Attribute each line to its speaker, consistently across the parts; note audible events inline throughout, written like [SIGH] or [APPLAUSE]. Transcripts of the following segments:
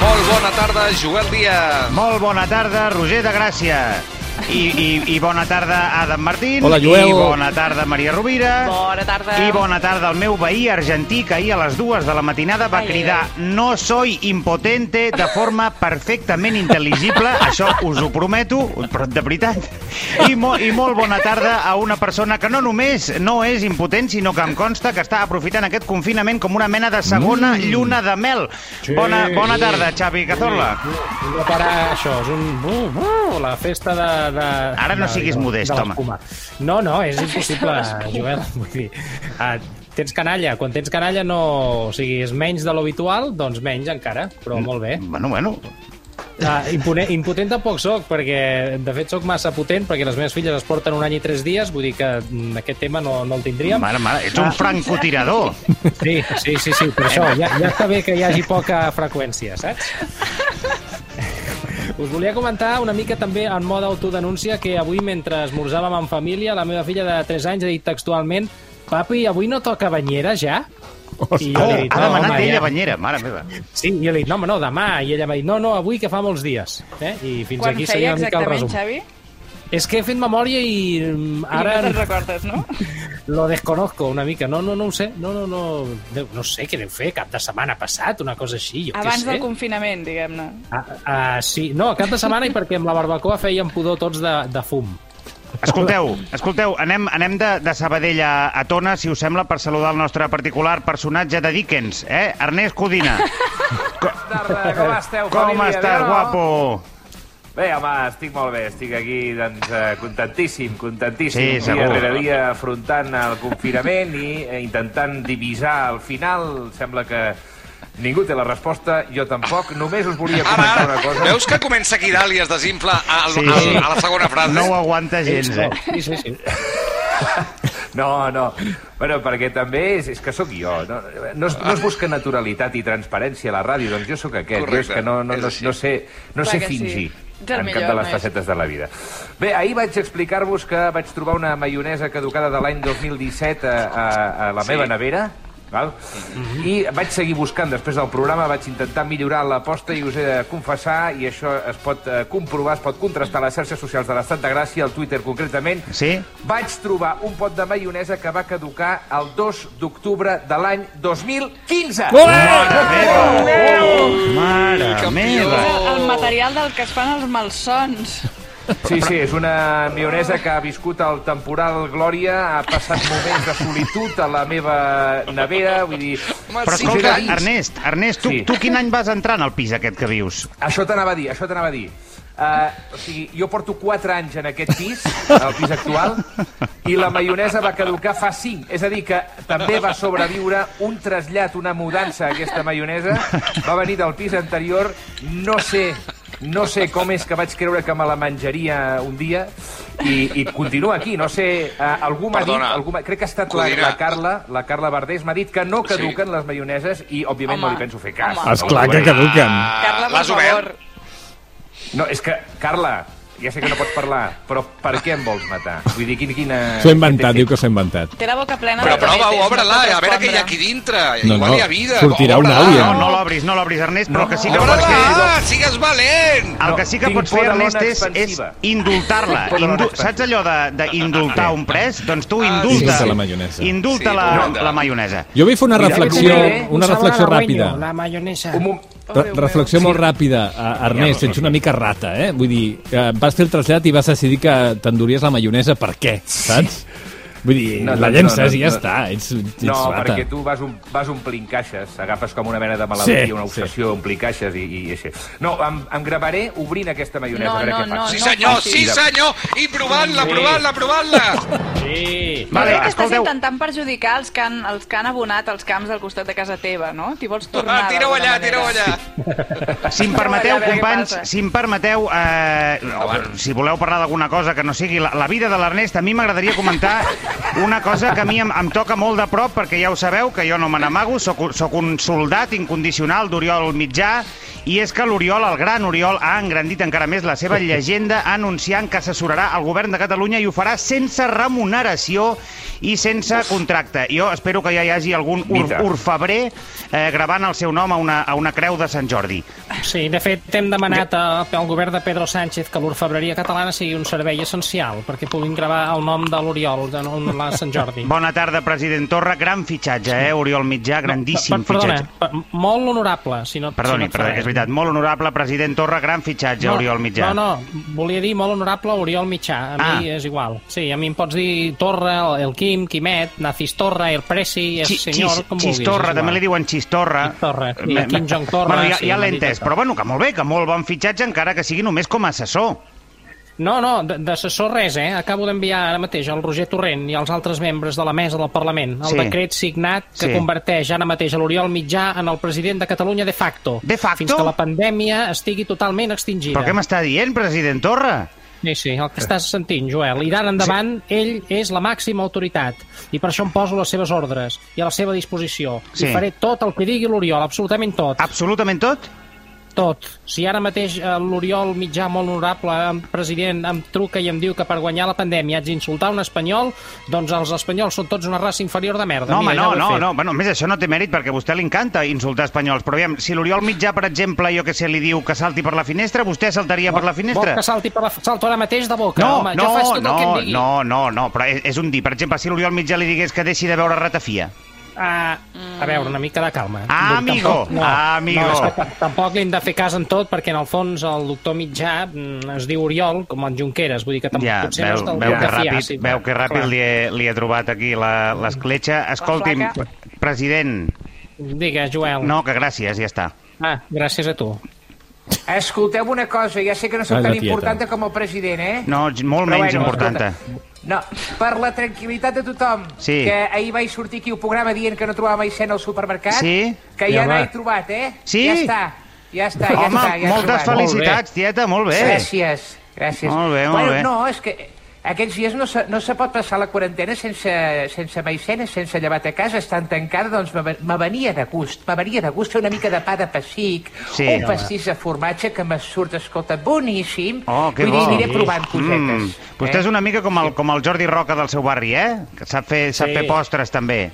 Speaker 1: bona tarda, Joel Díaz.
Speaker 2: Molt bona tarda, Roger de Gràcia. I, i, I bona tarda, Adam Martín.
Speaker 3: Hola, Joel.
Speaker 2: I bona tarda, Maria Rovira.
Speaker 4: Bona tarda.
Speaker 2: I bona tarda al meu veí argentí que ahir a les dues de la matinada va
Speaker 4: Ai, ai,
Speaker 2: cridar no soy impotente de forma perfectament intel·ligible, això us ho prometo, però de veritat. I, mo I molt bona tarda a una persona que no només no és impotent, sinó que em consta que està aprofitant aquest confinament com una mena de segona mm. lluna de mel.
Speaker 3: Sí.
Speaker 2: Bona, bona tarda, Xavi Cazorla.
Speaker 3: No parar això, és un... Uh, uh, la festa de... de
Speaker 2: Ara no
Speaker 3: de,
Speaker 2: siguis
Speaker 3: de-
Speaker 2: modest,
Speaker 3: de
Speaker 2: home.
Speaker 3: l'escuma. No, no, és impossible,
Speaker 4: festa de l'escuma.
Speaker 3: Joel. Vull dir, uh, tens canalla. Quan tens canalla no... O sigui, és menys de l'habitual, doncs menys encara, però
Speaker 2: Mm.
Speaker 3: molt bé.
Speaker 2: Bueno, bueno,
Speaker 3: Uh, impotent, impotent tampoc soc, perquè de fet sóc massa potent, perquè les meves filles es porten un any i tres dies, vull dir que mm, aquest tema no, no el tindríem.
Speaker 2: mare, mare, ets
Speaker 3: Ah.
Speaker 2: un francotirador.
Speaker 3: Sí, sí, sí, sí, per això. Ja, ja està bé que hi hagi poca freqüència, saps? Us volia comentar una mica també en mode autodenúncia que avui mentre esmorzàvem en família la meva filla de 3 anys ha dit textualment papi, avui no toca banyera ja? I jo
Speaker 2: Oh,
Speaker 3: li he dit,
Speaker 2: ha demanat
Speaker 3: home,
Speaker 2: ella
Speaker 3: ja.
Speaker 2: banyera, mare meva.
Speaker 3: Sí, i jo li he dit, no, home, no, demà. I ella m'ha dit, no, no, avui que fa molts dies. Eh? I fins
Speaker 4: Quan
Speaker 3: aquí
Speaker 4: feia
Speaker 3: seria una mica el
Speaker 4: exactament,
Speaker 3: resum.
Speaker 4: Xavi?
Speaker 3: És que he fet memòria i
Speaker 4: I
Speaker 3: mm,
Speaker 4: no
Speaker 3: ara
Speaker 4: te'n recordes,
Speaker 3: [LAUGHS]
Speaker 4: no?
Speaker 3: Lo desconozco una mica. No, no, no ho sé. No, no, no, Déu, no sé què deu fer. Cap de setmana passat, una cosa així. Jo
Speaker 4: Abans
Speaker 3: què sé.
Speaker 4: del confinament, diguem-ne.
Speaker 3: Ah, ah, sí. No, cap de setmana i perquè amb la barbacoa feien pudor tots de, de fum.
Speaker 2: Escolteu, escolteu, anem, anem de, de Sabadell a, a Tona, si us sembla, per saludar el nostre particular personatge de Dickens, eh? Ernest
Speaker 5: [LAUGHS]
Speaker 2: Codina.
Speaker 5: tarda,
Speaker 2: [LAUGHS]
Speaker 5: com esteu,
Speaker 2: Com
Speaker 5: família?
Speaker 2: estàs,
Speaker 5: Bé, no?
Speaker 2: guapo?
Speaker 5: Bé, home, estic molt bé, estic aquí doncs, eh, contentíssim,
Speaker 2: Sí,
Speaker 5: contentíssim,
Speaker 2: segur.
Speaker 5: dia rere dia afrontant el confinament i eh, intentant divisar el final. Sembla que ningú té la resposta, jo tampoc. Només us volia
Speaker 1: Ara,
Speaker 5: comentar
Speaker 1: ara,
Speaker 5: una cosa.
Speaker 1: veus que comença aquí dalt i es desinfla a, a,
Speaker 2: Sí,
Speaker 1: a,
Speaker 2: sí.
Speaker 1: a la segona frase?
Speaker 2: No ho aguanta gens, eh?
Speaker 3: Sí, sí, sí.
Speaker 5: No, no. Bueno, perquè també és, és que sóc jo. No, no, es, no es busca naturalitat i transparència a la ràdio, doncs jo sóc aquest.
Speaker 1: Correcte,
Speaker 5: Jo és que no, no,
Speaker 1: és
Speaker 5: no,
Speaker 1: així.
Speaker 5: no sé, no
Speaker 4: Clar
Speaker 5: sé
Speaker 4: que sí.
Speaker 5: fingir
Speaker 4: Ets el
Speaker 5: en cap
Speaker 4: millor,
Speaker 5: de les
Speaker 4: Ernest.
Speaker 5: facetes de la vida. Bé, ahir vaig explicar-vos que vaig trobar una maionesa caducada de l'any 2017 a, a, a la
Speaker 1: Sí. Mhm.
Speaker 5: meva nevera, val? i vaig seguir buscant després del programa, vaig intentar millorar l'aposta i us he de confessar, i això es pot eh, comprovar, es pot contrastar a les xarxes socials de l'Estat de Gràcia, al Twitter concretament,
Speaker 2: Sí?
Speaker 5: vaig trobar un pot de maionesa que va caducar el 2 d'octubre de l'any 2015.
Speaker 2: Mare meva! Mare
Speaker 1: Oh! Campió.
Speaker 2: meva!
Speaker 4: El material del que es fan els malsons.
Speaker 5: Sí, sí, és una maionesa que ha viscut el temporal Glòria, ha passat moments de solitud a la meva nevera, vull dir...
Speaker 1: Home,
Speaker 2: Però
Speaker 1: sí,
Speaker 2: escolta,
Speaker 1: sí.
Speaker 2: Ernest, Ernest, tu,
Speaker 5: Sí.
Speaker 2: tu quin any vas entrar en el pis aquest que vius?
Speaker 5: Això t'anava a dir, això t'anava a dir. Uh, o sigui, jo porto 4 anys en aquest
Speaker 6: [LAUGHS]
Speaker 5: pis, en el pis actual, i la maionesa va caducar fa 5. És a dir, que també va sobreviure un trasllat, una mudança, aquesta maionesa. Va venir del pis anterior, no sé... No sé com és que vaig creure que me la menjaria un dia i, i continua aquí. No sé, uh, algú m'ha dit...
Speaker 1: Perdona,
Speaker 5: Algú m'ha- crec que ha estat la,
Speaker 1: Codina.
Speaker 5: la Carla, la Carla Verdés, m'ha dit que no caduquen les maioneses i, òbviament,
Speaker 4: Home,
Speaker 5: no li penso fer cas.
Speaker 4: home.
Speaker 6: Esclar que caduquen.
Speaker 1: Ah,
Speaker 4: Carla, per
Speaker 1: l'has obert?
Speaker 4: favor.
Speaker 5: No, és que, Carla, ja sé que no pots parlar, però per què em vols matar? Vull dir, quin, quina...
Speaker 6: S'ho ha inventat, diu que s'ha inventat.
Speaker 4: Té la boca plena
Speaker 1: Però
Speaker 4: de
Speaker 1: prova,
Speaker 4: tomates, no
Speaker 1: obre-la, a
Speaker 4: pot
Speaker 1: veure què hi ha
Speaker 4: respondre.
Speaker 1: aquí dintre.
Speaker 6: No,
Speaker 1: Igual
Speaker 6: no,
Speaker 1: hi ha vida.
Speaker 6: sortirà una
Speaker 1: Obre-la.
Speaker 6: àvia.
Speaker 2: No, no l'obris, no l'obris, Ernest, però el que sí que pots fer...
Speaker 1: Obre-la, ah, sigues valent!
Speaker 2: El
Speaker 5: No,
Speaker 2: que sí que
Speaker 5: tinc
Speaker 2: pots
Speaker 5: por
Speaker 2: fer,
Speaker 5: de l'ona
Speaker 2: Ernest, és, és
Speaker 5: expansiva.
Speaker 2: indultar-la.
Speaker 5: Tinc por de l'ona
Speaker 2: Indu
Speaker 5: expansiva. Ah,
Speaker 2: saps allò d'indultar un pres? Doncs tu
Speaker 1: Ah,
Speaker 2: indulta.
Speaker 6: sí, sí. La maionesa.
Speaker 2: Indulta
Speaker 1: Sí,
Speaker 2: la,
Speaker 1: indulta.
Speaker 2: la maionesa.
Speaker 6: Jo vull fer una
Speaker 5: Mira, eh,
Speaker 6: reflexió,
Speaker 5: que té
Speaker 6: una reflexió ràpida.
Speaker 3: La maionesa.
Speaker 5: Un mom...
Speaker 4: Oh,
Speaker 6: Re
Speaker 4: Déu
Speaker 6: reflexió molt ràpida. Eh, Ernest, ets una mica rata, eh? Vull dir, eh, vas fer el trasllat i vas decidir que t'enduries la maionesa per què, saps? Vull dir,
Speaker 5: No, no,
Speaker 6: la
Speaker 5: no,
Speaker 6: llences
Speaker 5: no,
Speaker 6: i ja
Speaker 5: no.
Speaker 6: està, ets, ets
Speaker 5: No,
Speaker 6: rata.
Speaker 5: perquè tu vas, om- vas omplint caixes, agafes com una mena de malaltia,
Speaker 6: Sí,
Speaker 5: una
Speaker 6: sí.
Speaker 5: obsessió, omplir caixes i, i així. No, em, em gravaré obrint aquesta maionesa,
Speaker 4: No,
Speaker 5: a veure
Speaker 4: no,
Speaker 5: què fa.
Speaker 4: no,
Speaker 1: Sí
Speaker 4: no.
Speaker 1: senyor,
Speaker 4: facis.
Speaker 1: sí senyor! I provant-la, provant-la, provant-la!
Speaker 3: Sí.
Speaker 4: Vale,
Speaker 2: Vale,
Speaker 4: que estàs
Speaker 2: escolteu,
Speaker 4: intentant perjudicar els que, han, els que han abonat els camps del costat de casa teva, no? T'hi vols tornar
Speaker 1: Ah, Tira-ho
Speaker 4: d'alguna
Speaker 1: allà,
Speaker 4: manera.
Speaker 1: tira-ho allà.
Speaker 2: si em
Speaker 4: Tira-ho
Speaker 2: permeteu,
Speaker 4: [LAUGHS] allà, a veure què
Speaker 2: companys,
Speaker 4: passa.
Speaker 2: si em permeteu, eh, no, si voleu parlar d'alguna cosa que no sigui la, la vida de l'Ernest, a mi m'agradaria comentar una cosa que a mi em, em toca molt de prop, perquè ja ho sabeu, que jo no me n'amago, sóc, un- sóc un soldat incondicional d'Oriol Mitjà, i és que l'Oriol, el gran Oriol, ha engrandit encara més la seva llegenda anunciant que assessorarà el govern de Catalunya i ho farà sense remuneració i sense contracte. Jo espero que ja hi hagi algun ur,
Speaker 5: Mita.
Speaker 2: orfebrer eh, gravant el seu nom a una, a una creu de Sant Jordi.
Speaker 3: Sí, de fet, hem demanat a- al govern de Pedro Sánchez que l'orfebreria catalana sigui un servei essencial perquè puguin gravar el nom de l'Oriol de no- la Sant Jordi.
Speaker 2: Bona tarda, president Torra. Gran fitxatge, eh, Oriol Mitjà, grandíssim
Speaker 3: Per- Perdona,
Speaker 2: fitxatge.
Speaker 3: per- molt honorable, si no... si
Speaker 2: Perdoni,
Speaker 3: no et fa
Speaker 2: perdó,
Speaker 3: res.
Speaker 2: és veritat. Molt honorable president Torra, gran fitxatge, Oriol Mitjà.
Speaker 3: No, no, volia dir molt honorable Oriol Mitjà. A ah. mi
Speaker 2: Ah.
Speaker 3: és igual. Sí, a mi em pots dir Torra, el- el Quim, Quimet, Nafis Torra, el Presi, el
Speaker 2: Chi-
Speaker 3: senyor,
Speaker 2: chis-
Speaker 3: com vulguis.
Speaker 2: Xistorra,
Speaker 3: és
Speaker 2: també
Speaker 3: igual.
Speaker 2: li diuen Xistorra.
Speaker 3: Xistorra, sí,
Speaker 2: Me-
Speaker 3: Quim Jong Torra,
Speaker 2: Bueno, ja,
Speaker 3: sí,
Speaker 2: ja l'he
Speaker 3: m'ha dit
Speaker 2: entès,
Speaker 3: això.
Speaker 2: però bueno, que molt bé, que molt bon fitxatge, encara que sigui només com a assessor.
Speaker 3: No, no, de- d'assessor res, eh? Acabo d'enviar ara mateix al Roger Torrent i als altres membres de la mesa del Parlament el
Speaker 2: Sí.
Speaker 3: decret signat que
Speaker 2: Sí.
Speaker 3: converteix ara mateix a l'Oriol Mitjà en el president de Catalunya de facto.
Speaker 2: De facto?
Speaker 3: Fins que la pandèmia estigui totalment extingida.
Speaker 2: Però què m'està dient, president Torra?
Speaker 3: Sí, sí, el que estàs sentint, Joel. I d'ara endavant, sí. ell és la màxima autoritat. I per això em poso les seves ordres i a la seva disposició.
Speaker 2: Sí.
Speaker 3: I faré tot el que digui l'Oriol, absolutament tot.
Speaker 2: Absolutament tot?
Speaker 3: Doncs Tot. Si ara mateix eh, l'Oriol Mitjà, molt honorable em- president, em truca i em diu que per guanyar la pandèmia haig d'insultar un espanyol, doncs els espanyols són tots una raça inferior de merda.
Speaker 2: No, home,
Speaker 3: Mira, ja
Speaker 2: no,
Speaker 3: ho he
Speaker 2: no,
Speaker 3: fet.
Speaker 2: no. Bueno, a més, això no té mèrit perquè a vostè li encanta insultar espanyols. Però aviam, si l'Oriol Mitjà, per exemple, jo que sé, li diu que salti per la finestra, vostè saltaria per la
Speaker 3: Vol
Speaker 2: finestra?
Speaker 3: que salti per la... Salto ara mateix de boca,
Speaker 2: No,
Speaker 3: home.
Speaker 2: no,
Speaker 3: jo faig tot el que
Speaker 2: no,
Speaker 3: em digui.
Speaker 2: no, no, no, però és, és un dir. Per exemple, si l'Oriol Mitjà li digués que deixi de veure ratafia.
Speaker 3: Ah, a veure, una mica de calma.
Speaker 2: Ah,
Speaker 3: Vull dir,
Speaker 2: amigo,
Speaker 3: tampoc-
Speaker 2: ah, amigo.
Speaker 3: No, és que tam- tampoc li hem de fer cas en tot, perquè en el fons el doctor Mitjà mm, es diu Oriol, com en Junqueras, vull dir que tampoc
Speaker 2: Ja,
Speaker 3: potser
Speaker 2: veu,
Speaker 3: no és del
Speaker 2: veu,
Speaker 3: tot
Speaker 2: que
Speaker 3: de fiar,
Speaker 2: ràpid,
Speaker 3: sí,
Speaker 2: veu que ràpid
Speaker 3: clar.
Speaker 2: li he, li he trobat aquí la- l'escletxa. Escolti'm,
Speaker 4: flaca.
Speaker 2: president,
Speaker 3: Digue, Joel.
Speaker 2: no, que gràcies, ja està.
Speaker 3: Ah, gràcies a tu.
Speaker 5: Escolteu una cosa, ja sé que no sóc
Speaker 6: Ai, la
Speaker 5: tan
Speaker 6: tieta.
Speaker 5: important com el president, eh?
Speaker 2: No, j- molt
Speaker 5: Però
Speaker 2: menys
Speaker 5: bueno,
Speaker 2: important. eh?
Speaker 5: escolta, No, per la tranquil·litat de tothom,
Speaker 2: Sí.
Speaker 5: que ahir vaig sortir aquí al programa dient que no trobava mai cent al supermercat,
Speaker 2: Sí.
Speaker 5: que
Speaker 3: Ja
Speaker 5: ja,
Speaker 3: va.
Speaker 5: n'he trobat, eh?
Speaker 2: Sí?
Speaker 5: Ja està, ja està, ja
Speaker 2: Home,
Speaker 5: està. Ja he
Speaker 2: moltes
Speaker 5: trobat.
Speaker 2: felicitats, tieta, molt bé.
Speaker 5: Gràcies, gràcies.
Speaker 2: Molt bé, molt
Speaker 5: bueno,
Speaker 2: bé.
Speaker 5: No, és que aquests dies no se, no se pot passar la quarantena sense, sense maicenes, sense llevat a casa, estan tancada, doncs me, ve- me venia de gust, me venia de gust fer una mica de pa de pessic,
Speaker 2: Sí.
Speaker 5: un pastís de formatge que me surt, escolta, boníssim.
Speaker 2: Oh, que
Speaker 5: Vull
Speaker 2: bo.
Speaker 5: dir, aniré provant cosetes. eh?
Speaker 2: Mm. Vostè és una mica com el, com el Jordi Roca del seu barri, eh? Que sap fer, sap
Speaker 3: Sí.
Speaker 2: fer postres, també.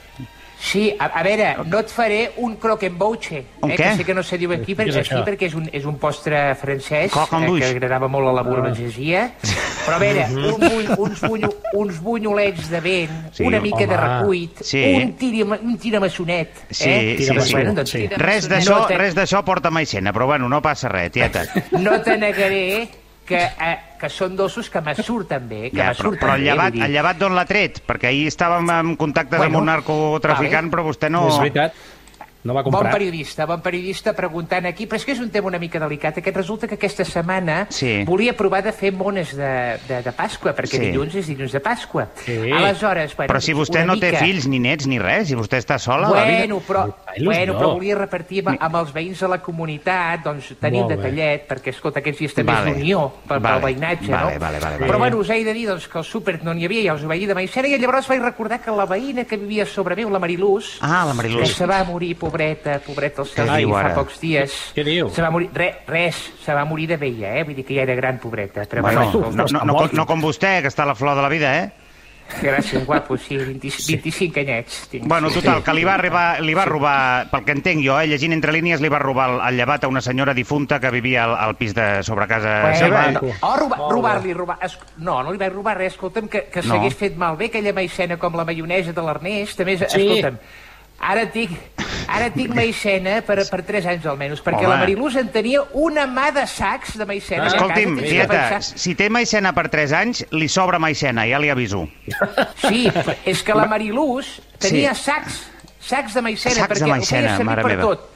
Speaker 5: Sí, a, a veure, no et faré un croque en bouche,
Speaker 2: Un
Speaker 5: eh,
Speaker 2: què?
Speaker 5: que sé que no se diu aquí, perquè,
Speaker 3: Què és
Speaker 5: aquí
Speaker 3: això?
Speaker 5: perquè és, un, és un postre francès
Speaker 2: Croque en
Speaker 5: eh, que
Speaker 2: bouche. Mhm.
Speaker 5: agradava molt
Speaker 3: Ah.
Speaker 5: a la burgesia. Però a veure, un bull, uns, bunyo, uns bunyolets de vent,
Speaker 2: Sí,
Speaker 5: una mica de
Speaker 3: home.
Speaker 5: recuit,
Speaker 2: Sí.
Speaker 5: un, tirama, un tiramassonet.
Speaker 2: Sí,
Speaker 5: eh?
Speaker 2: sí,
Speaker 5: Doncs,
Speaker 2: sí.
Speaker 5: Bueno, doncs,
Speaker 3: Sí.
Speaker 2: Res
Speaker 4: No
Speaker 2: d'això
Speaker 5: te-
Speaker 2: res d'això porta maicena, però bueno, no passa res, tieta.
Speaker 5: [LAUGHS] No te negaré que, eh, que són dosos que me surten bé, que
Speaker 2: Ja,
Speaker 5: me
Speaker 2: però,
Speaker 5: surten
Speaker 2: però el
Speaker 5: bé,
Speaker 2: llevat,
Speaker 5: vull dir.
Speaker 2: el llevat d'on l'ha tret? Perquè ahir estàvem en contactes
Speaker 5: Bueno,
Speaker 2: amb un narcotraficant,
Speaker 5: vale.
Speaker 2: però vostè no...
Speaker 3: És veritat. No va
Speaker 5: Bon
Speaker 3: comprar.
Speaker 5: periodista, bon periodista preguntant aquí, però és que és un tema una mica delicat. Aquest resulta que aquesta setmana
Speaker 2: Sí.
Speaker 5: volia provar de fer mones de, de, de Pasqua, perquè
Speaker 2: Sí.
Speaker 5: dilluns és dilluns de Pasqua.
Speaker 3: Sí.
Speaker 5: Aleshores, bueno,
Speaker 2: Però si vostè
Speaker 5: una
Speaker 2: no té
Speaker 5: mica...
Speaker 2: fills, ni nets, ni res, si vostè està sola... a la vida-
Speaker 5: Bueno, però,
Speaker 3: Ai,
Speaker 5: bueno,
Speaker 3: no.
Speaker 5: però volia repartir amb, amb els veïns de la comunitat, doncs tenir
Speaker 3: Molt bé.
Speaker 5: un detallet, perquè, escolta, aquests dies també
Speaker 2: Vale.
Speaker 5: és d'unió per,
Speaker 2: Vale.
Speaker 5: pel veïnatge,
Speaker 2: Vale,
Speaker 5: no?
Speaker 2: vale, vale,
Speaker 5: Però,
Speaker 2: vale.
Speaker 5: bueno, us he de dir doncs, que al súper no n'hi havia, ja us ho vaig dir de Maicena, i llavors vaig recordar que la veïna que vivia sobre meu, la Mariluz,
Speaker 2: Ah, la Mariluz.
Speaker 5: que se va morir, pobreta, pobreta, el seu
Speaker 2: Què
Speaker 5: fill
Speaker 2: diu
Speaker 5: fa
Speaker 2: ara?
Speaker 5: pocs dies.
Speaker 3: Què diu?
Speaker 5: Se va morir, re, res, se va morir de vella, eh? Vull dir que ja era gran, pobreta. Però,
Speaker 2: Bueno,
Speaker 5: bueno,
Speaker 2: no, no, no, com- no com vostè, que està a la flor de la vida, eh?
Speaker 5: Gràcies, guapo, sí, 20, 25 anyets. Tinc.
Speaker 2: Bueno, total, que li va, arribar, li va robar, pel que entenc jo, eh, llegint entre línies, li va robar el, el llevat a una senyora difunta que vivia al, al pis de sobre casa
Speaker 5: Bueno,
Speaker 2: seva.
Speaker 5: no. O roba, robar-li, Oh, robar... Es... No, no li vaig robar res, escolta'm, que, que
Speaker 2: No.
Speaker 5: s'hagués fet malbé aquella maicena com la maionesa de l'Ernest. També, és-
Speaker 3: Sí.
Speaker 5: escolta'm, ara tinc, ara
Speaker 2: [LAUGHS]
Speaker 5: tinc maicena per, per 3 anys almenys, perquè
Speaker 2: Home.
Speaker 5: la Mariluz en tenia una mà de sacs de maicena. que a casa
Speaker 2: Escolti'm,
Speaker 5: tens que
Speaker 2: tieta,
Speaker 5: pensar-
Speaker 2: si té maicena per 3 anys, li sobra maicena, ja li aviso.
Speaker 5: Sí, és que la Mariluz tenia sacs, sacs de maicena,
Speaker 2: Sacs de
Speaker 5: perquè
Speaker 2: maicena,
Speaker 5: ho feia
Speaker 2: mare
Speaker 5: servir per
Speaker 2: meva.
Speaker 5: tot.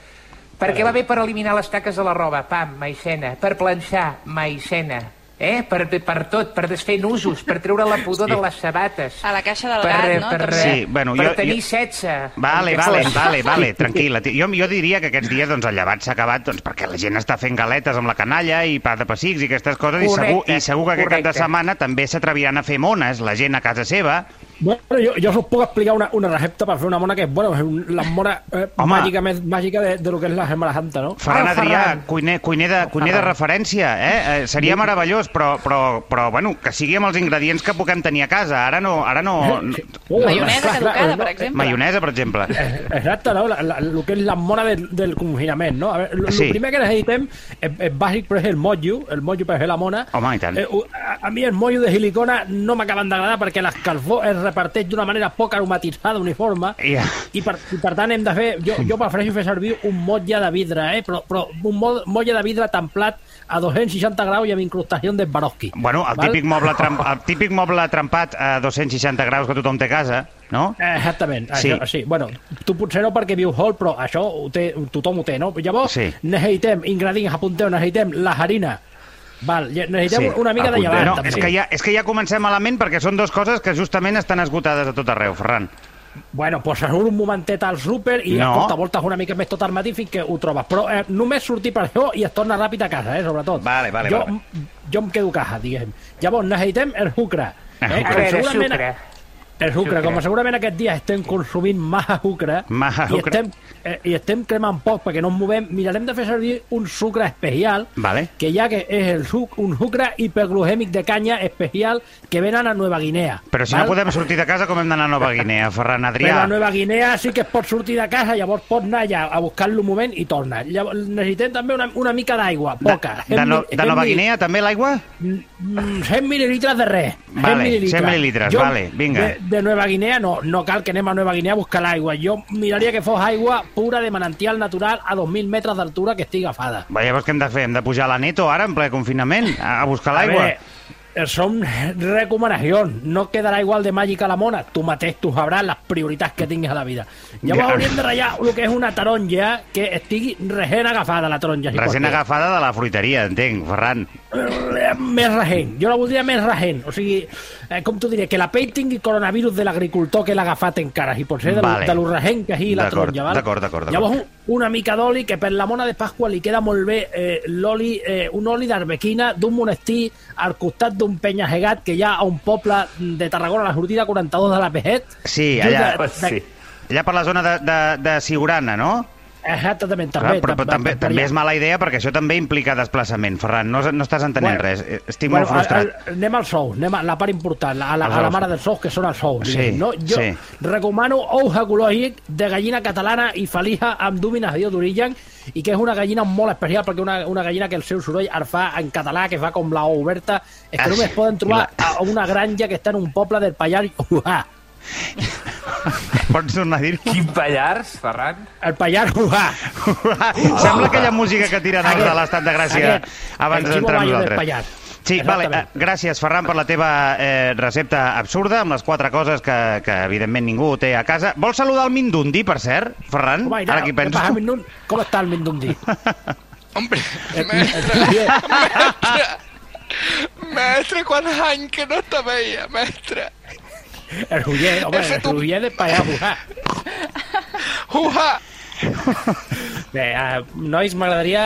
Speaker 5: Perquè va bé per eliminar les taques de la roba, pam, maicena, per planxar, maicena, eh? per, per tot, per desfer nusos, per treure la pudor de les sabates.
Speaker 4: A la caixa de l'edat, no?
Speaker 5: Per,
Speaker 4: També.
Speaker 2: Sí, bueno,
Speaker 5: per
Speaker 2: jo-
Speaker 5: tenir
Speaker 2: jo-
Speaker 5: setze.
Speaker 2: Vale,
Speaker 5: el que
Speaker 2: vale,
Speaker 5: fos.
Speaker 2: vale,
Speaker 3: [LAUGHS]
Speaker 2: vale, tranquil·la. tia. Jo, jo diria que aquests dies doncs, el llevat s'ha acabat doncs, perquè la gent està fent galetes amb la canalla i pa de pessics i aquestes coses i
Speaker 5: Correcte,
Speaker 2: segur, i segur que aquest cap de
Speaker 5: correcte.
Speaker 2: setmana també s'atreviran a fer mones, la gent a casa seva.
Speaker 3: Bueno, jo, jo us puc explicar una, una recepta per fer una mona que és, bueno, és un- la mona eh,
Speaker 2: Home.
Speaker 3: màgica més màgica de, de lo que és la Semana Santa, no?
Speaker 2: Ferran
Speaker 3: Ah,
Speaker 2: Adrià,
Speaker 3: Ferran.
Speaker 2: cuiner, cuiner, de, cuiner de referència, eh? eh seria meravellós, però, però, però bueno, que sigui amb els ingredients que puguem tenir a casa. Ara no... Ara no...
Speaker 3: Oh,
Speaker 4: Maionesa
Speaker 3: clar, clar,
Speaker 4: caducada,
Speaker 3: no,
Speaker 4: per exemple.
Speaker 2: Maionesa, per exemple.
Speaker 3: Exacte, no? La, la, lo que és la mona del, del confinament, no? A veure, lo,
Speaker 2: Sí.
Speaker 3: lo primer que necessitem és, és bàsic, però és el motllo, el motllo per fer la mona.
Speaker 2: Home, i tant.
Speaker 3: Eh, u- a, a mi el motllo de silicona no m'acaben d'agradar perquè l'escalfor es reparteix d'una manera poc aromatitzada, uniforme,
Speaker 2: Ja.
Speaker 3: i, per, i per tant hem de fer... Jo, jo prefereixo fer servir un motlle de vidre, eh? Però, però un mo- motlle de vidre templat a 260 graus i amb incrustació de Swarovski.
Speaker 2: Bueno, el
Speaker 3: Val?
Speaker 2: típic, moble tramp, el típic moble trempat a 260 graus que tothom té a casa, no?
Speaker 3: Eh, Exactament.
Speaker 2: Sí.
Speaker 3: Sí. Això, sí. Bueno, tu potser no perquè vius hol, però això ho té, tothom ho té, no? Llavors,
Speaker 2: Sí.
Speaker 3: sí. necessitem ingredients, apunteu, necessitem la harina. Val, lle- necessitem sí. una mica de llevat.
Speaker 2: No,
Speaker 3: també.
Speaker 2: és que, ja, és que ja comencem malament perquè són dues coses que justament estan esgotades a tot arreu, Ferran.
Speaker 3: Bueno, pues surt un momentet al súper i
Speaker 2: No.
Speaker 3: no. porta voltes una mica més tot armat i fins que ho trobes. Però eh, només sortir per això i es torna ràpid a casa, eh, sobretot.
Speaker 1: Vale, vale,
Speaker 3: jo,
Speaker 1: vale.
Speaker 3: jo em quedo caja, diguem. Llavors, necessitem el sucre.
Speaker 2: El sucre.
Speaker 3: com
Speaker 5: A veure,
Speaker 3: segurament-
Speaker 5: sucre.
Speaker 3: El sucre, com segurament aquests dies estem consumint massa sucre,
Speaker 2: Massa
Speaker 3: i,
Speaker 2: sucre.
Speaker 3: estem, eh, i estem cremant poc perquè no ens movem, mirarem de fer servir un sucre especial,
Speaker 2: Vale.
Speaker 3: que ja que és el suc, un sucre hiperglucèmic de canya especial que venen a Nueva Guinea.
Speaker 2: Però si no podem sortir de casa, com hem d'anar a Nova Guinea, Ferran
Speaker 3: Però
Speaker 2: Adrià?
Speaker 3: a Nueva Guinea sí que es pot sortir de casa, llavors pots anar allà a buscar-lo un moment i torna. Llavors, necessitem també una, una mica d'aigua,
Speaker 2: De,
Speaker 3: poca. eh?
Speaker 2: de, no,
Speaker 3: Cent mil-
Speaker 2: de Nova
Speaker 3: cent mil-
Speaker 2: Guinea també l'aigua?
Speaker 3: Mm, 100 mil·lilitres de res.
Speaker 2: Vale, 100 mil·lilitres, vale, vinga.
Speaker 3: De, de Nueva Guinea no, no cal que anem a Nueva Guinea a buscar l'aigua. Jo miraria que fos aigua pura de manantial natural a 2.000 metres d'altura que estigui agafada.
Speaker 2: Va, llavors què hem de fer? Hem de pujar a la Neto ara, en ple confinament, a, a buscar
Speaker 3: A
Speaker 2: l'aigua?
Speaker 3: ver, eh, Son recomanacions, no quedarà igual de màgica la mona, tu mateix tu sabràs les prioritats que tinguis a la vida. Llavors
Speaker 2: Ja.
Speaker 3: hauríem de ratllar el que és una taronja que estigui recent agafada, la taronja. si
Speaker 2: Recent
Speaker 3: pot ser.
Speaker 2: agafada de la fruiteria, entenc, Ferran.
Speaker 3: Eh, més regent. Jo la voldria més regent. O sigui, eh, com t'ho diré, que la pell tingui coronavirus de l'agricultor que l'ha agafat encara, i potser de,
Speaker 2: Vale.
Speaker 3: vale. de lo regent que hi la
Speaker 2: D'acord,
Speaker 3: taronja. val?
Speaker 2: d'acord, d'acord, d'acord.
Speaker 3: Llavors, un- una mica d'oli, que per la mona de Pasqua li queda molt bé eh, l'oli, eh, un oli d'arbequina d'un monestir al costat d'un penyasegat que hi ha a un poble de Tarragona, a la sortida 42 de la E Pejet.
Speaker 2: Sí,
Speaker 3: Jo
Speaker 2: allà.
Speaker 3: de- de-
Speaker 5: Sí.
Speaker 2: Allà per la zona de, de, de Siurana, no?
Speaker 3: Exactament,
Speaker 2: Clar,
Speaker 3: també.
Speaker 2: Ah, però, però també,
Speaker 3: per
Speaker 2: també
Speaker 3: allà.
Speaker 2: és mala idea perquè això també implica desplaçament, Ferran. No, no estàs entenent
Speaker 3: Bueno,
Speaker 2: res. Eh, Estic molt frustrat.
Speaker 3: Al, al, anem als ous, anem a la part important, a la,
Speaker 2: Els
Speaker 3: a la
Speaker 2: ous.
Speaker 3: mare dels ous, que són els ous.
Speaker 2: Sí,
Speaker 3: diguem, no? Jo
Speaker 2: sí.
Speaker 3: recomano ous ecològic de gallina catalana i falija amb dúmines d'origen i que és una gallina molt especial perquè una, una gallina que el seu soroll el fa en català, que fa com la O oberta, és
Speaker 2: Ah,
Speaker 3: que només
Speaker 2: sí.
Speaker 3: poden trobar
Speaker 2: La-
Speaker 3: a una granja que està en un poble del Pallars. Uà,
Speaker 2: Pots tornar a dir-ho?
Speaker 5: Quin Pallars, Ferran?
Speaker 3: el Pallars, uà.
Speaker 2: Sembla aquella música que tiren els de l'Estat de Gràcia
Speaker 3: Aquest,
Speaker 2: abans
Speaker 3: el Ximo
Speaker 2: d'entrar amb
Speaker 3: Bayo del
Speaker 2: nosaltres.
Speaker 3: Pallars.
Speaker 2: Sí, vale, eh,
Speaker 3: Exactament.
Speaker 2: gràcies, Ferran, per la teva eh, recepta absurda, amb les quatre coses que, que evidentment, ningú té a casa. Vols saludar el Mindundi, per cert, Ferran?
Speaker 3: Home, i ara,
Speaker 2: que hi
Speaker 3: què
Speaker 2: penso.
Speaker 3: passa, Mindun? Com està el
Speaker 7: [LAUGHS]
Speaker 3: Mindundi?
Speaker 1: Hombre,
Speaker 6: Eh,
Speaker 1: mestre, mestre, mestre, quant any que no te veia, mestre.
Speaker 3: El Ruller, home,
Speaker 1: Ese
Speaker 3: el
Speaker 1: tu-
Speaker 3: Ruller del Pallars, uà.
Speaker 1: Uha!
Speaker 3: Bé, uh, nois, m'agradaria...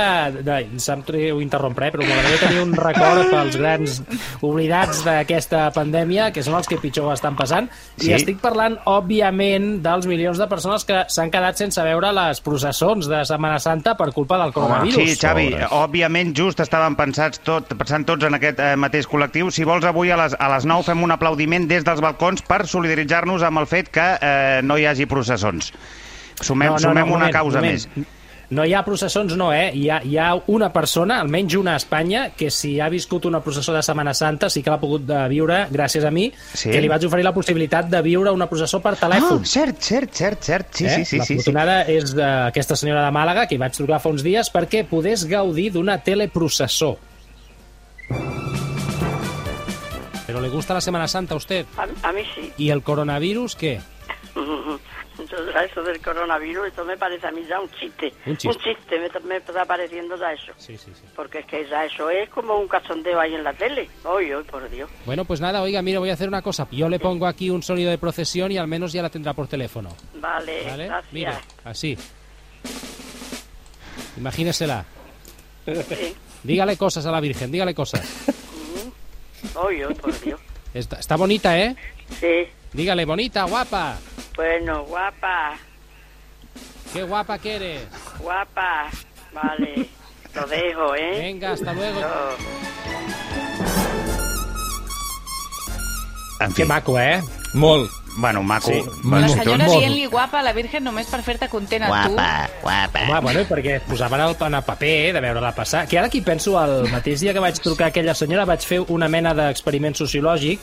Speaker 3: Ai, em sap greu interrompre, eh, però m'agradaria tenir un record pels grans oblidats d'aquesta pandèmia, que són els que pitjor ho estan passant.
Speaker 2: Sí.
Speaker 3: I estic parlant, òbviament, dels milions de persones que s'han quedat sense veure les processons de Setmana Santa per culpa del coronavirus.
Speaker 2: Sí, Xavi, òbviament just estàvem pensats tot, pensant tots en aquest eh, mateix col·lectiu. Si vols, avui a les, a les 9 fem un aplaudiment des dels balcons per solidaritzar-nos amb el fet que eh, no hi hagi processons. Sumem, sumem una
Speaker 3: moment,
Speaker 2: causa
Speaker 3: moment.
Speaker 2: més.
Speaker 3: No hi ha processons, no, eh? Hi ha, hi ha una persona, almenys una a Espanya, que si ha viscut una processó de Setmana Santa sí que l'ha pogut eh, viure, gràcies a mi,
Speaker 2: Sí?
Speaker 3: sí? que li vaig oferir la possibilitat de viure una processó per telèfon. Eh?
Speaker 2: Ah, cert, cert, cert, cert. Sí, sí, sí,
Speaker 3: la
Speaker 2: sí, sí.
Speaker 3: fortunada és d'aquesta senyora de Màlaga, que hi vaig trucar fa uns dies, perquè podés gaudir d'una teleprocessó. Però li gusta la Semana Santa a usted.
Speaker 7: A, a mí sí.
Speaker 3: ¿Y el coronavirus qué?
Speaker 7: Entonces, a eso del coronavirus, esto me parece a mí ya un chiste.
Speaker 3: Un chiste.
Speaker 7: me, está- me está pareciendo ya eso.
Speaker 3: Sí, sí, sí.
Speaker 7: Porque es que ya eso es como eh, un cachondeo ahí en la tele. Hoy, hoy, por Dios.
Speaker 3: Bueno, pues nada, oiga, mire, voy a hacer una cosa. Yo le pongo aquí un sonido de procesión y al menos ya la tendrá por teléfono.
Speaker 7: Vale,
Speaker 3: ¿Vale?
Speaker 7: gracias.
Speaker 3: Mire, así. Imagínesela.
Speaker 7: Sí.
Speaker 3: Dígale cosas a la Virgen, dígale cosas.
Speaker 7: Hoy, hoy, por Dios.
Speaker 3: Está, está bonita, ¿eh?
Speaker 7: Sí,
Speaker 8: Dígale, bonita, guapa.
Speaker 7: Bueno, guapa,
Speaker 8: Qué guapa que eres.
Speaker 7: guapa. Vale, lo dejo, ¿eh?
Speaker 8: Venga, hasta luego.
Speaker 7: Yo-
Speaker 2: En fi,
Speaker 8: Que maco, eh?
Speaker 9: Molt.
Speaker 2: bueno, maco.
Speaker 9: Sí.
Speaker 2: bueno,
Speaker 4: La
Speaker 9: Molt,
Speaker 4: senyora
Speaker 9: molt.
Speaker 4: dient-li guapa a la Virgen només per fer-te content a tu.
Speaker 2: Guapa, guapa.
Speaker 3: Home, bueno, i perquè es posaven el, en el paper eh, de veure-la passar. Que ara aquí penso, el mateix dia que vaig trucar a aquella senyora vaig fer una mena d'experiment sociològic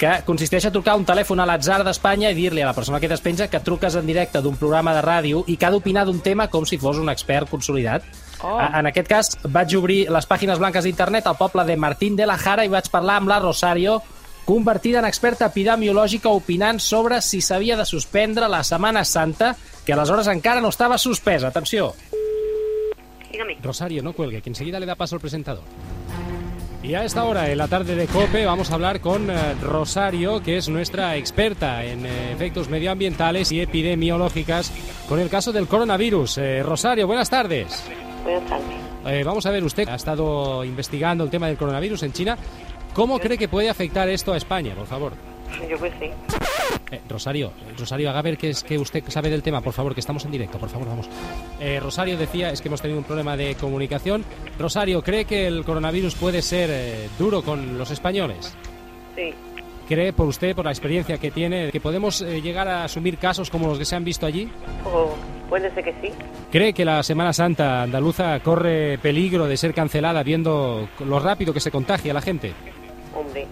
Speaker 3: que consisteix a trucar un telèfon a l'atzar d'Espanya i dir-li a la persona que despenja que truques en directe d'un programa de ràdio i que ha d'opinar d'un tema com si fos un expert consolidat.
Speaker 4: Oh.
Speaker 3: Oh. En aquest cas, vaig obrir les pàgines blanques d'internet al poble de Martín de la Jara i vaig parlar amb la Rosario, convertida en experta epidemiològica opinant sobre si s'havia de suspendre la Setmana Santa, que aleshores encara no estava suspesa. Atenció!
Speaker 7: Dígame.
Speaker 8: Rosario, no cuelgue, que enseguida le da paso al presentador. Y a esta hora, en la tarde de COPE, vamos a hablar con eh, Rosario, que es nuestra experta en eh, efectos medioambientales y epidemiológicas con el caso del coronavirus. Eh, Rosario, buenas tardes.
Speaker 7: Buenas tardes.
Speaker 8: Eh, vamos a ver, usted ha estado investigando el tema del coronavirus en China. ¿Cómo cree que puede afectar esto a España, por favor?
Speaker 7: Yo pues sí.
Speaker 8: Eh, Rosario, eh, Rosario, haga ver que es que usted sabe del tema, por favor, que estamos en directo, por favor, vamos. Eh, Rosario decía, es que hemos tenido un problema de comunicación. Rosario, ¿cree que el coronavirus puede ser eh, duro con los españoles?
Speaker 7: Sí.
Speaker 8: ¿Cree por usted, por la experiencia que tiene, que podemos eh, llegar a asumir casos como los que se han visto allí?
Speaker 7: O Oh, puede ser que sí.
Speaker 8: ¿Cree que la Semana Santa andaluza corre peligro de ser cancelada viendo lo rápido que se contagia la gente?
Speaker 7: Hombre.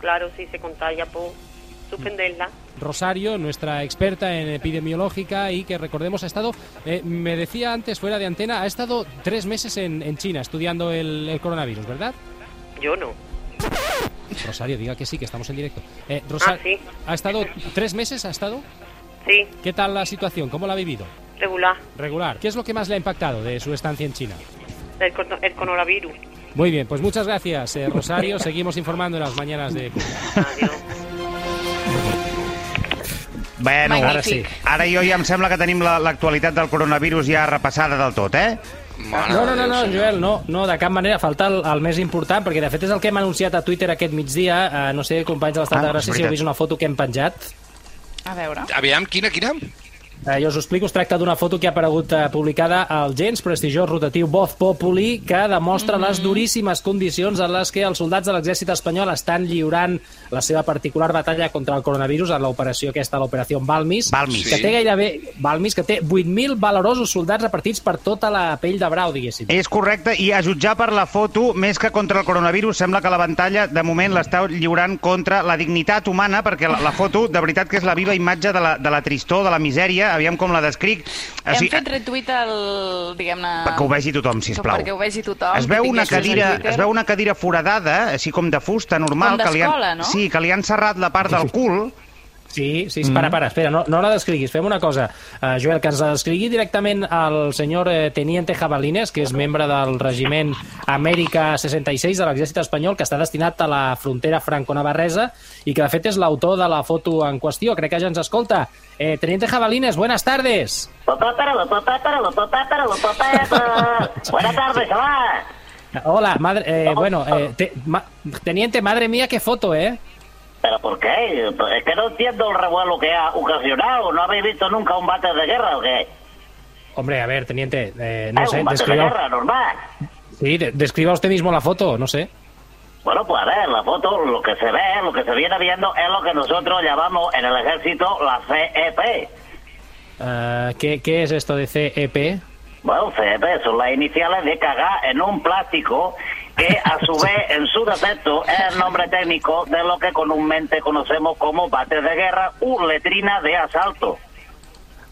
Speaker 7: Claro, si se contagia, pues suspenderla.
Speaker 8: Rosario, nuestra experta en epidemiológica y que recordemos ha estado, eh, me decía antes fuera de antena, ha estado tres meses en, en China estudiando el, el coronavirus, ¿verdad?
Speaker 7: Yo no.
Speaker 8: Rosario, diga que sí, que estamos en directo. Eh, Rosa-
Speaker 7: Ah, sí.
Speaker 8: ¿Ha estado tres meses? ¿Ha estado?
Speaker 7: Sí,
Speaker 8: ¿Qué tal la situación? ¿Cómo la ha vivido?
Speaker 7: regular.
Speaker 8: Regular. ¿Qué es lo que más le ha impactado de su estancia en China?
Speaker 7: El, corno- el coronavirus.
Speaker 10: [LAUGHS]
Speaker 8: Muy bien, pues muchas gracias, eh,
Speaker 7: [LAUGHS]
Speaker 8: Rosario. Seguimos informando en las mañanas de... CUPE.
Speaker 7: Adiós.
Speaker 2: bueno ara sí.
Speaker 4: Magnífic.
Speaker 2: Ara jo ja em sembla que tenim la- l'actualitat del coronavirus ja repassada del tot, eh?
Speaker 1: Mare
Speaker 3: No,
Speaker 1: de
Speaker 3: no, no,
Speaker 1: Déu,
Speaker 3: no,
Speaker 1: senyor.
Speaker 3: Joel, no, no, de cap manera, falta el, el més important, perquè de fet és el que hem anunciat a Twitter aquest migdia, eh, no sé, companys de l'estat
Speaker 2: Ah,
Speaker 3: de
Speaker 2: és
Speaker 3: Gràcia, si heu
Speaker 2: veritat.
Speaker 3: vist una foto que hem penjat.
Speaker 4: A veure.
Speaker 1: Aviam, quina, quina?
Speaker 3: Eh, jo us ho explico, es tracta d'una foto que ha aparegut eh, publicada al gens prestigiós rotatiu Voz Populi, que demostra les duríssimes condicions en les que els soldats de l'exèrcit espanyol estan lliurant la seva particular batalla contra el coronavirus en l'operació aquesta, l'operació Balmis,
Speaker 2: Balmis.
Speaker 3: que
Speaker 1: Sí.
Speaker 3: té gairebé Balmis, que té 8.000 valorosos soldats repartits per tota la pell de brau, diguéssim.
Speaker 2: És correcte, i a jutjar per la foto, més que contra el coronavirus, sembla que la pantalla, de moment, l'està lliurant contra la dignitat humana, perquè la, la foto, de veritat, que és la viva imatge de la, de la tristor, de la misèria, aviam com la descric. O
Speaker 1: Ah,
Speaker 4: Hem
Speaker 2: sigui,
Speaker 4: fet retuit el, diguem-ne...
Speaker 2: perquè ho vegi tothom, si plau.
Speaker 4: Perquè ho vegi tothom.
Speaker 2: Es veu
Speaker 4: que
Speaker 2: una
Speaker 4: tingui
Speaker 2: cadira,
Speaker 4: accés a Twitter.
Speaker 2: es veu una cadira foradada, així com de fusta normal
Speaker 4: Com
Speaker 2: que li han
Speaker 4: d'escola, no?
Speaker 2: Sí, que li han serrat la part del cul.
Speaker 3: Sí, sí, para, para, espera, no, no la descriguis. Fem una cosa, eh, Joel, que ens la descrigui directament al senyor eh, Teniente Jabalines, que és membre del regiment Amèrica 66 de l'exèrcit espanyol, que està destinat a la frontera franco-navarresa i que, de fet, és l'autor de la foto en qüestió. Crec que ja ens escolta. Eh, Teniente Jabalines, buenas tardes.
Speaker 7: Papá para la papá para la papá para la papá [LAUGHS] para. Buenas tardes, chaval.
Speaker 3: Hola, madre... eh, bueno, eh, te- ma- Teniente, madre mía, qué foto, ¿eh?
Speaker 7: ¿Pero por qué? Es que no entiendo el revuelo que ha ocasionado. ¿No habéis visto nunca un bate de guerra o qué?
Speaker 3: Hombre, a ver, Teniente, eh, no
Speaker 7: Ah,
Speaker 3: sé,
Speaker 7: un bate de
Speaker 3: describa...
Speaker 7: guerra, normal.
Speaker 3: Sí, de- describa usted mismo la foto, no sé.
Speaker 7: Bueno, pues a ver, la foto, lo que se ve, lo que se viene viendo es lo que nosotros llamamos en el ejército la E CEP.
Speaker 3: Eh, ¿qué, ¿Qué es esto de E CEP?
Speaker 7: Bueno, CEP son las iniciales de cagar en un plástico que a
Speaker 3: [LAUGHS]
Speaker 7: su vez en su defecto es el nombre técnico de lo que comúnmente conocemos como bate de guerra u letrina de asalto.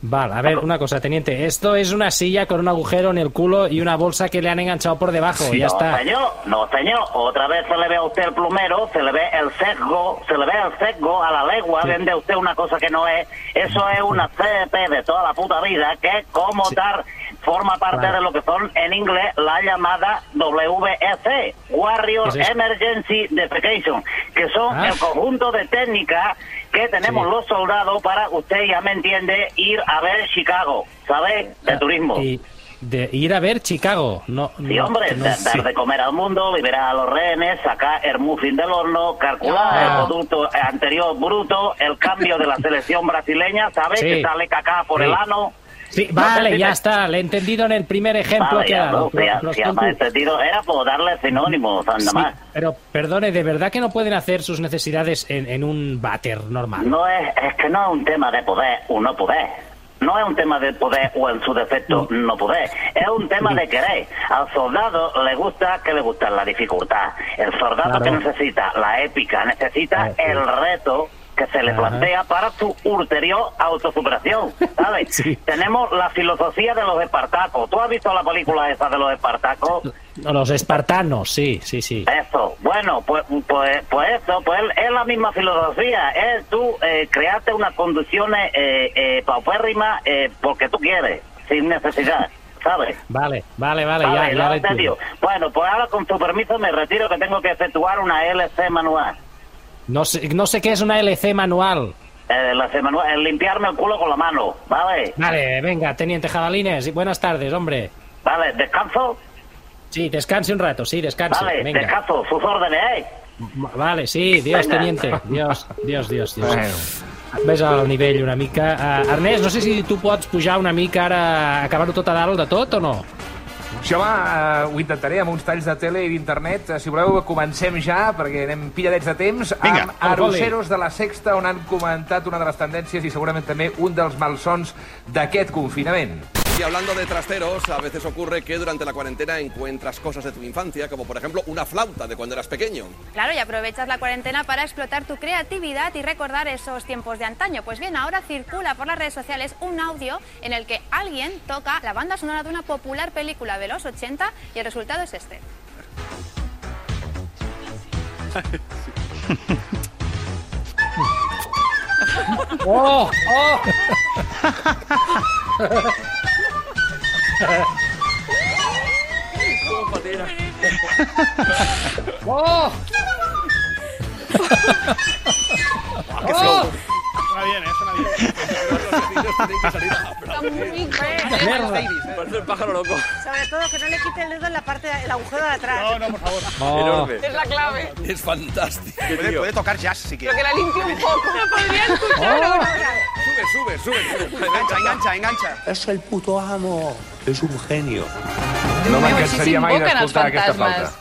Speaker 3: Vale, a ver, una cosa, teniente. Esto es una silla con un agujero en el culo y una bolsa que le han enganchado por debajo. ya
Speaker 7: no,
Speaker 3: está.
Speaker 7: señor, no, señor. Otra vez se le ve a usted el plumero, se le ve el sesgo, se le ve el sesgo a la legua, vende usted una cosa que no es. Eso es una CP de toda la puta vida, que como tal forma parte
Speaker 3: Claro.
Speaker 7: de lo que son en inglés la llamada WEC, Warrior
Speaker 3: ¿Qué es eso?
Speaker 7: Emergency Defecation, que son
Speaker 3: Ah.
Speaker 7: el conjunto de técnicas que tenemos
Speaker 3: Sí.
Speaker 7: los soldados para, usted ya me entiende, ir a ver Chicago, ¿sabes? De turismo.
Speaker 3: Ah, Y, de ir a ver Chicago. No,
Speaker 7: Sí,
Speaker 3: no,
Speaker 7: hombre,
Speaker 3: Mm, que no
Speaker 7: da-
Speaker 3: sé.
Speaker 7: dar de comer al mundo, liberar a los rehenes, sacar el muffin del horno, calcular
Speaker 3: Ah.
Speaker 7: el producto anterior bruto, el
Speaker 3: [LAUGHS]
Speaker 7: cambio de la selección brasileña, ¿sabes?
Speaker 3: Sí.
Speaker 7: Que sale caca por
Speaker 3: Sí.
Speaker 7: el ano.
Speaker 3: Sí,
Speaker 7: No,
Speaker 3: vale,
Speaker 7: sí,
Speaker 3: ya
Speaker 7: sí.
Speaker 3: está. Le he entendido en el primer ejemplo
Speaker 7: Vale,
Speaker 3: que ha
Speaker 7: ya,
Speaker 3: dado.
Speaker 7: no, ya,
Speaker 3: Los
Speaker 7: ya,
Speaker 3: tontos.
Speaker 7: maestro, tío, era por darle sinónimos, anda
Speaker 3: Sí,
Speaker 7: más.
Speaker 3: pero perdone, ¿de verdad que no pueden hacer sus necesidades en, en un váter normal?
Speaker 7: No es, es que no es un tema de poder o no poder. No es un tema de poder o en su defecto no poder. Es un tema de querer. Al soldado le gusta que le gusta la dificultad. El soldado
Speaker 3: Claro.
Speaker 7: que necesita la épica, necesita el reto que se le
Speaker 3: Ajá.
Speaker 7: plantea para su ulterior autosuperación, ¿sabes?
Speaker 3: [LAUGHS] Sí.
Speaker 7: Tenemos la filosofía de los espartacos. ¿Tú has visto la película esa de los espartacos?
Speaker 3: No, Los espartanos, sí, sí, sí.
Speaker 7: Eso, bueno, pues, pues, pues eso, pues es la misma filosofía, es tú eh, crearte unas condiciones eh, eh, paupérrimas eh, porque tú quieres, sin necesidad, ¿sabes?
Speaker 3: Vale, vale, [LAUGHS] vale,
Speaker 7: Vale,
Speaker 3: ya, ya
Speaker 7: ¿no?
Speaker 3: lo
Speaker 7: En serio.
Speaker 3: entiendo.
Speaker 7: Bueno, pues ahora con tu permiso me retiro que tengo que efectuar una LC manual.
Speaker 3: No sé, no sé qué es una LC manual.
Speaker 7: Eh, la C manual, es limpiarme el culo con la mano, ¿vale?
Speaker 3: Vale, venga, Teniente Jabalines, y buenas tardes, hombre.
Speaker 7: Vale, descanso,
Speaker 3: Sí, descanse un rato, sí, descanse.
Speaker 7: vale,
Speaker 3: venga.
Speaker 7: descanso, sus órdenes, ¿eh?
Speaker 3: Ma- Vale, sí, Dios,
Speaker 7: Venga.
Speaker 3: Teniente. Dios, Dios, Dios, Dios. Ves al nivell una mica. Uh, Ernest, no sé si tu pots pujar una mica ara, acabar-ho tot a dalt de tot o no?
Speaker 5: Jo va, eh, ho intentaré amb uns talls de tele i d'internet. Eh, Si voleu, comencem ja, perquè anem pilladets de temps,
Speaker 2: Vinga.
Speaker 5: amb Arroceros de la Sexta, on han comentat una de les tendències i segurament també un dels malsons d'aquest confinament.
Speaker 11: Y hablando de trasteros, a veces ocurre que durante la cuarentena encuentras cosas de tu infancia, como por ejemplo una flauta de cuando eras pequeño.
Speaker 10: Claro, y aprovechas la cuarentena para explotar tu creatividad y recordar esos tiempos de antaño. Pues bien, ahora circula por las redes sociales un audio en el que alguien toca la banda sonora de una popular película de los 80 y el resultado es este.
Speaker 3: Oh! Oh! ¡Oh!
Speaker 1: Suena bien, ¿eh? Suena bien.
Speaker 11: Los niños tienen que salir a aplaudir.
Speaker 3: ¡Mierda!
Speaker 11: Parece el pájaro loco.
Speaker 10: Sobre todo que no le quite el dedo en la parte del agujero de atrás.
Speaker 1: No, no, por favor.
Speaker 3: Oh.
Speaker 11: Enorme.
Speaker 4: Es la clave.
Speaker 11: Es fantástico.
Speaker 1: Puede,
Speaker 11: tío.
Speaker 1: puede tocar jazz si
Speaker 4: Lo
Speaker 1: quiere.
Speaker 4: que la limpie un [LAUGHS] poco. ¿Me podría escuchar ahora?
Speaker 11: Sube, sube, sube. sube.
Speaker 1: Engancha, engancha, engancha.
Speaker 6: Es el puto amo. Es un genio.
Speaker 5: No me'n
Speaker 4: meu, així
Speaker 5: cansaria mai
Speaker 4: s'invoquen els
Speaker 5: d'escoltar aquesta flauta.
Speaker 4: fantasmes.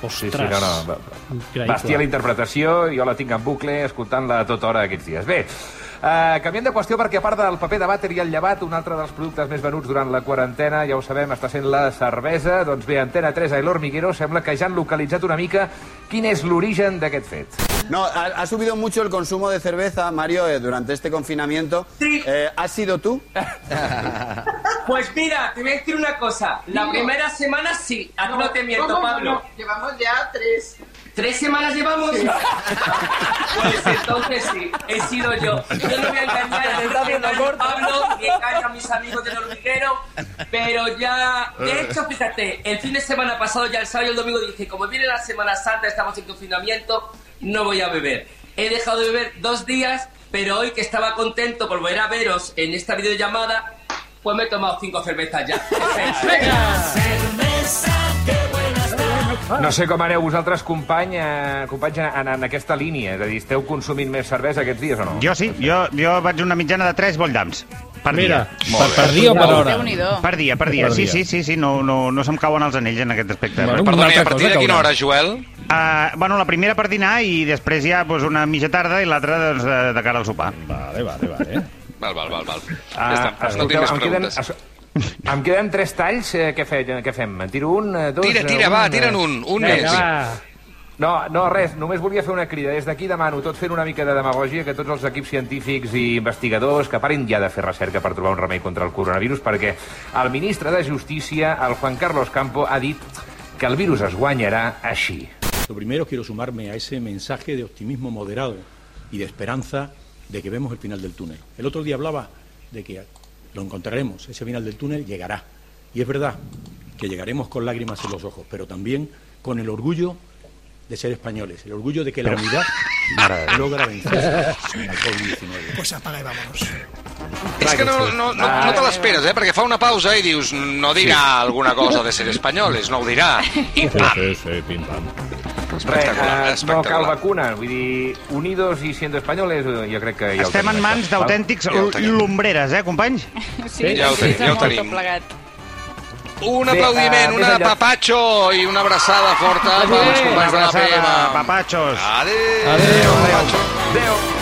Speaker 5: Sí, sí, no, no. va- va-
Speaker 3: Increïble.
Speaker 5: Bestial la interpretació, jo la tinc en bucle, escoltant-la a tota hora aquests dies. Bé, eh, canviem de qüestió perquè a part del paper de vàter i el llevat, un altre dels productes més venuts durant la quarantena, ja ho sabem, està sent la cervesa. Doncs bé, Antena 3 i l'Hormiguero sembla que ja han localitzat una mica quin és l'origen d'aquest fet.
Speaker 6: No, ha, ha subido mucho el consumo de cerveza, [LAUGHS] Mario, eh, durante este confinamiento. Eh, ¿Has sido tú?
Speaker 10: Pues mira, te voy a decir una cosa. La primera semana sí, a ti no te miento, Pablo.
Speaker 7: Llevamos ya tres.
Speaker 10: ¿Tres semanas llevamos? Pues entonces sí, he sido yo. Yo no voy a engañar a, a Pablo, ni engaño a mis amigos del hormiguero, pero ya... De hecho, fíjate, el fin de semana pasado, ya el sábado y el domingo, dije, como viene la Semana Santa, estamos en confinamiento, no voy a beber. He dejado de beber dos días, pero hoy que estaba contento por volver a veros en esta videollamada, pues me he tomado cinco cervezas ya.
Speaker 5: No sé com aneu vosaltres, company, eh, companys, en, en aquesta línia. És a dir, esteu consumint més cervesa aquests dies o no?
Speaker 2: Jo sí, jo, jo vaig una mitjana de 3 voltams per
Speaker 9: Mira,
Speaker 2: dia.
Speaker 9: per, per dia o per hora?
Speaker 4: Déu-n'hi-do.
Speaker 2: Per dia, per dia.
Speaker 9: Per
Speaker 2: Sí,
Speaker 9: dia.
Speaker 2: sí, sí, sí no, no, no se'm cauen els anells en aquest aspecte.
Speaker 9: Bueno,
Speaker 2: Bueno,
Speaker 9: Una
Speaker 1: Perdoni,
Speaker 9: altra
Speaker 1: Eh, a partir
Speaker 9: cosa
Speaker 1: de quina
Speaker 9: caurà.
Speaker 1: hora, Joel?
Speaker 2: uh, bueno la primera per dinar i després ja pues, una mitja tarda i l'altra doncs, de, de cara al sopar.
Speaker 9: Vale, vale, vale.
Speaker 1: Val, val, val. val.
Speaker 5: Ah,
Speaker 1: ja està, no tinc
Speaker 5: escolteu,
Speaker 1: més
Speaker 5: em queden-
Speaker 1: preguntes.
Speaker 5: es- Em queden tres talls, eh, què, fe, què fem? En tiro un, eh, dos...
Speaker 1: Tira,
Speaker 5: eh,
Speaker 1: tira, va, tira'n
Speaker 5: eh,
Speaker 1: un, un
Speaker 3: Vinga,
Speaker 1: més.
Speaker 3: va.
Speaker 5: No, no, res, només volia fer una crida. Des d'aquí demano, tot fent una mica de demagogia, que tots els equips científics i investigadors que parin ja de fer recerca per trobar un remei contra el coronavirus, perquè el ministre de Justícia, el Juan Carlos Campo, ha dit que el virus es guanyarà així.
Speaker 6: Lo primero quiero sumarme a ese mensaje de optimismo moderado y de esperanza de que vemos el final del túnel. El otro día hablaba de que lo encontraremos, ese final del túnel llegará. Y es verdad que llegaremos con lágrimas en los ojos, pero también con el orgullo de ser españoles, el orgullo de que la unidad logra vencer al COVID-19.
Speaker 1: És que no, no, no, no te l'esperes, eh? Perquè fa una pausa i dius, no dirà
Speaker 5: pues. Ah. Sí.
Speaker 1: alguna cosa de ser
Speaker 5: [LAUGHS]
Speaker 1: espanyoles, no ho dirà. I pam!
Speaker 6: Sí, sí, pim, pam.
Speaker 1: Espectacular,
Speaker 5: Res, eh, no cal
Speaker 1: espectacular.
Speaker 5: vacuna, vull dir, unidos i siendo españoles, eh, jo crec que ja ho
Speaker 2: Estem
Speaker 5: tenim,
Speaker 2: en
Speaker 5: això,
Speaker 2: mans
Speaker 5: val?
Speaker 2: d'autèntics lumbreres, eh, companys?
Speaker 1: Sí, ja ho sí, tenim, ja ho molt tenim. tot Un
Speaker 2: Bé,
Speaker 1: aplaudiment,
Speaker 2: eh,
Speaker 1: un
Speaker 2: més enllà-
Speaker 1: apapatxo i una abraçada forta
Speaker 2: Adéu,
Speaker 1: pels companys de la
Speaker 2: abraçada,
Speaker 1: PM.
Speaker 2: Papachos.
Speaker 1: Adéu, adéu.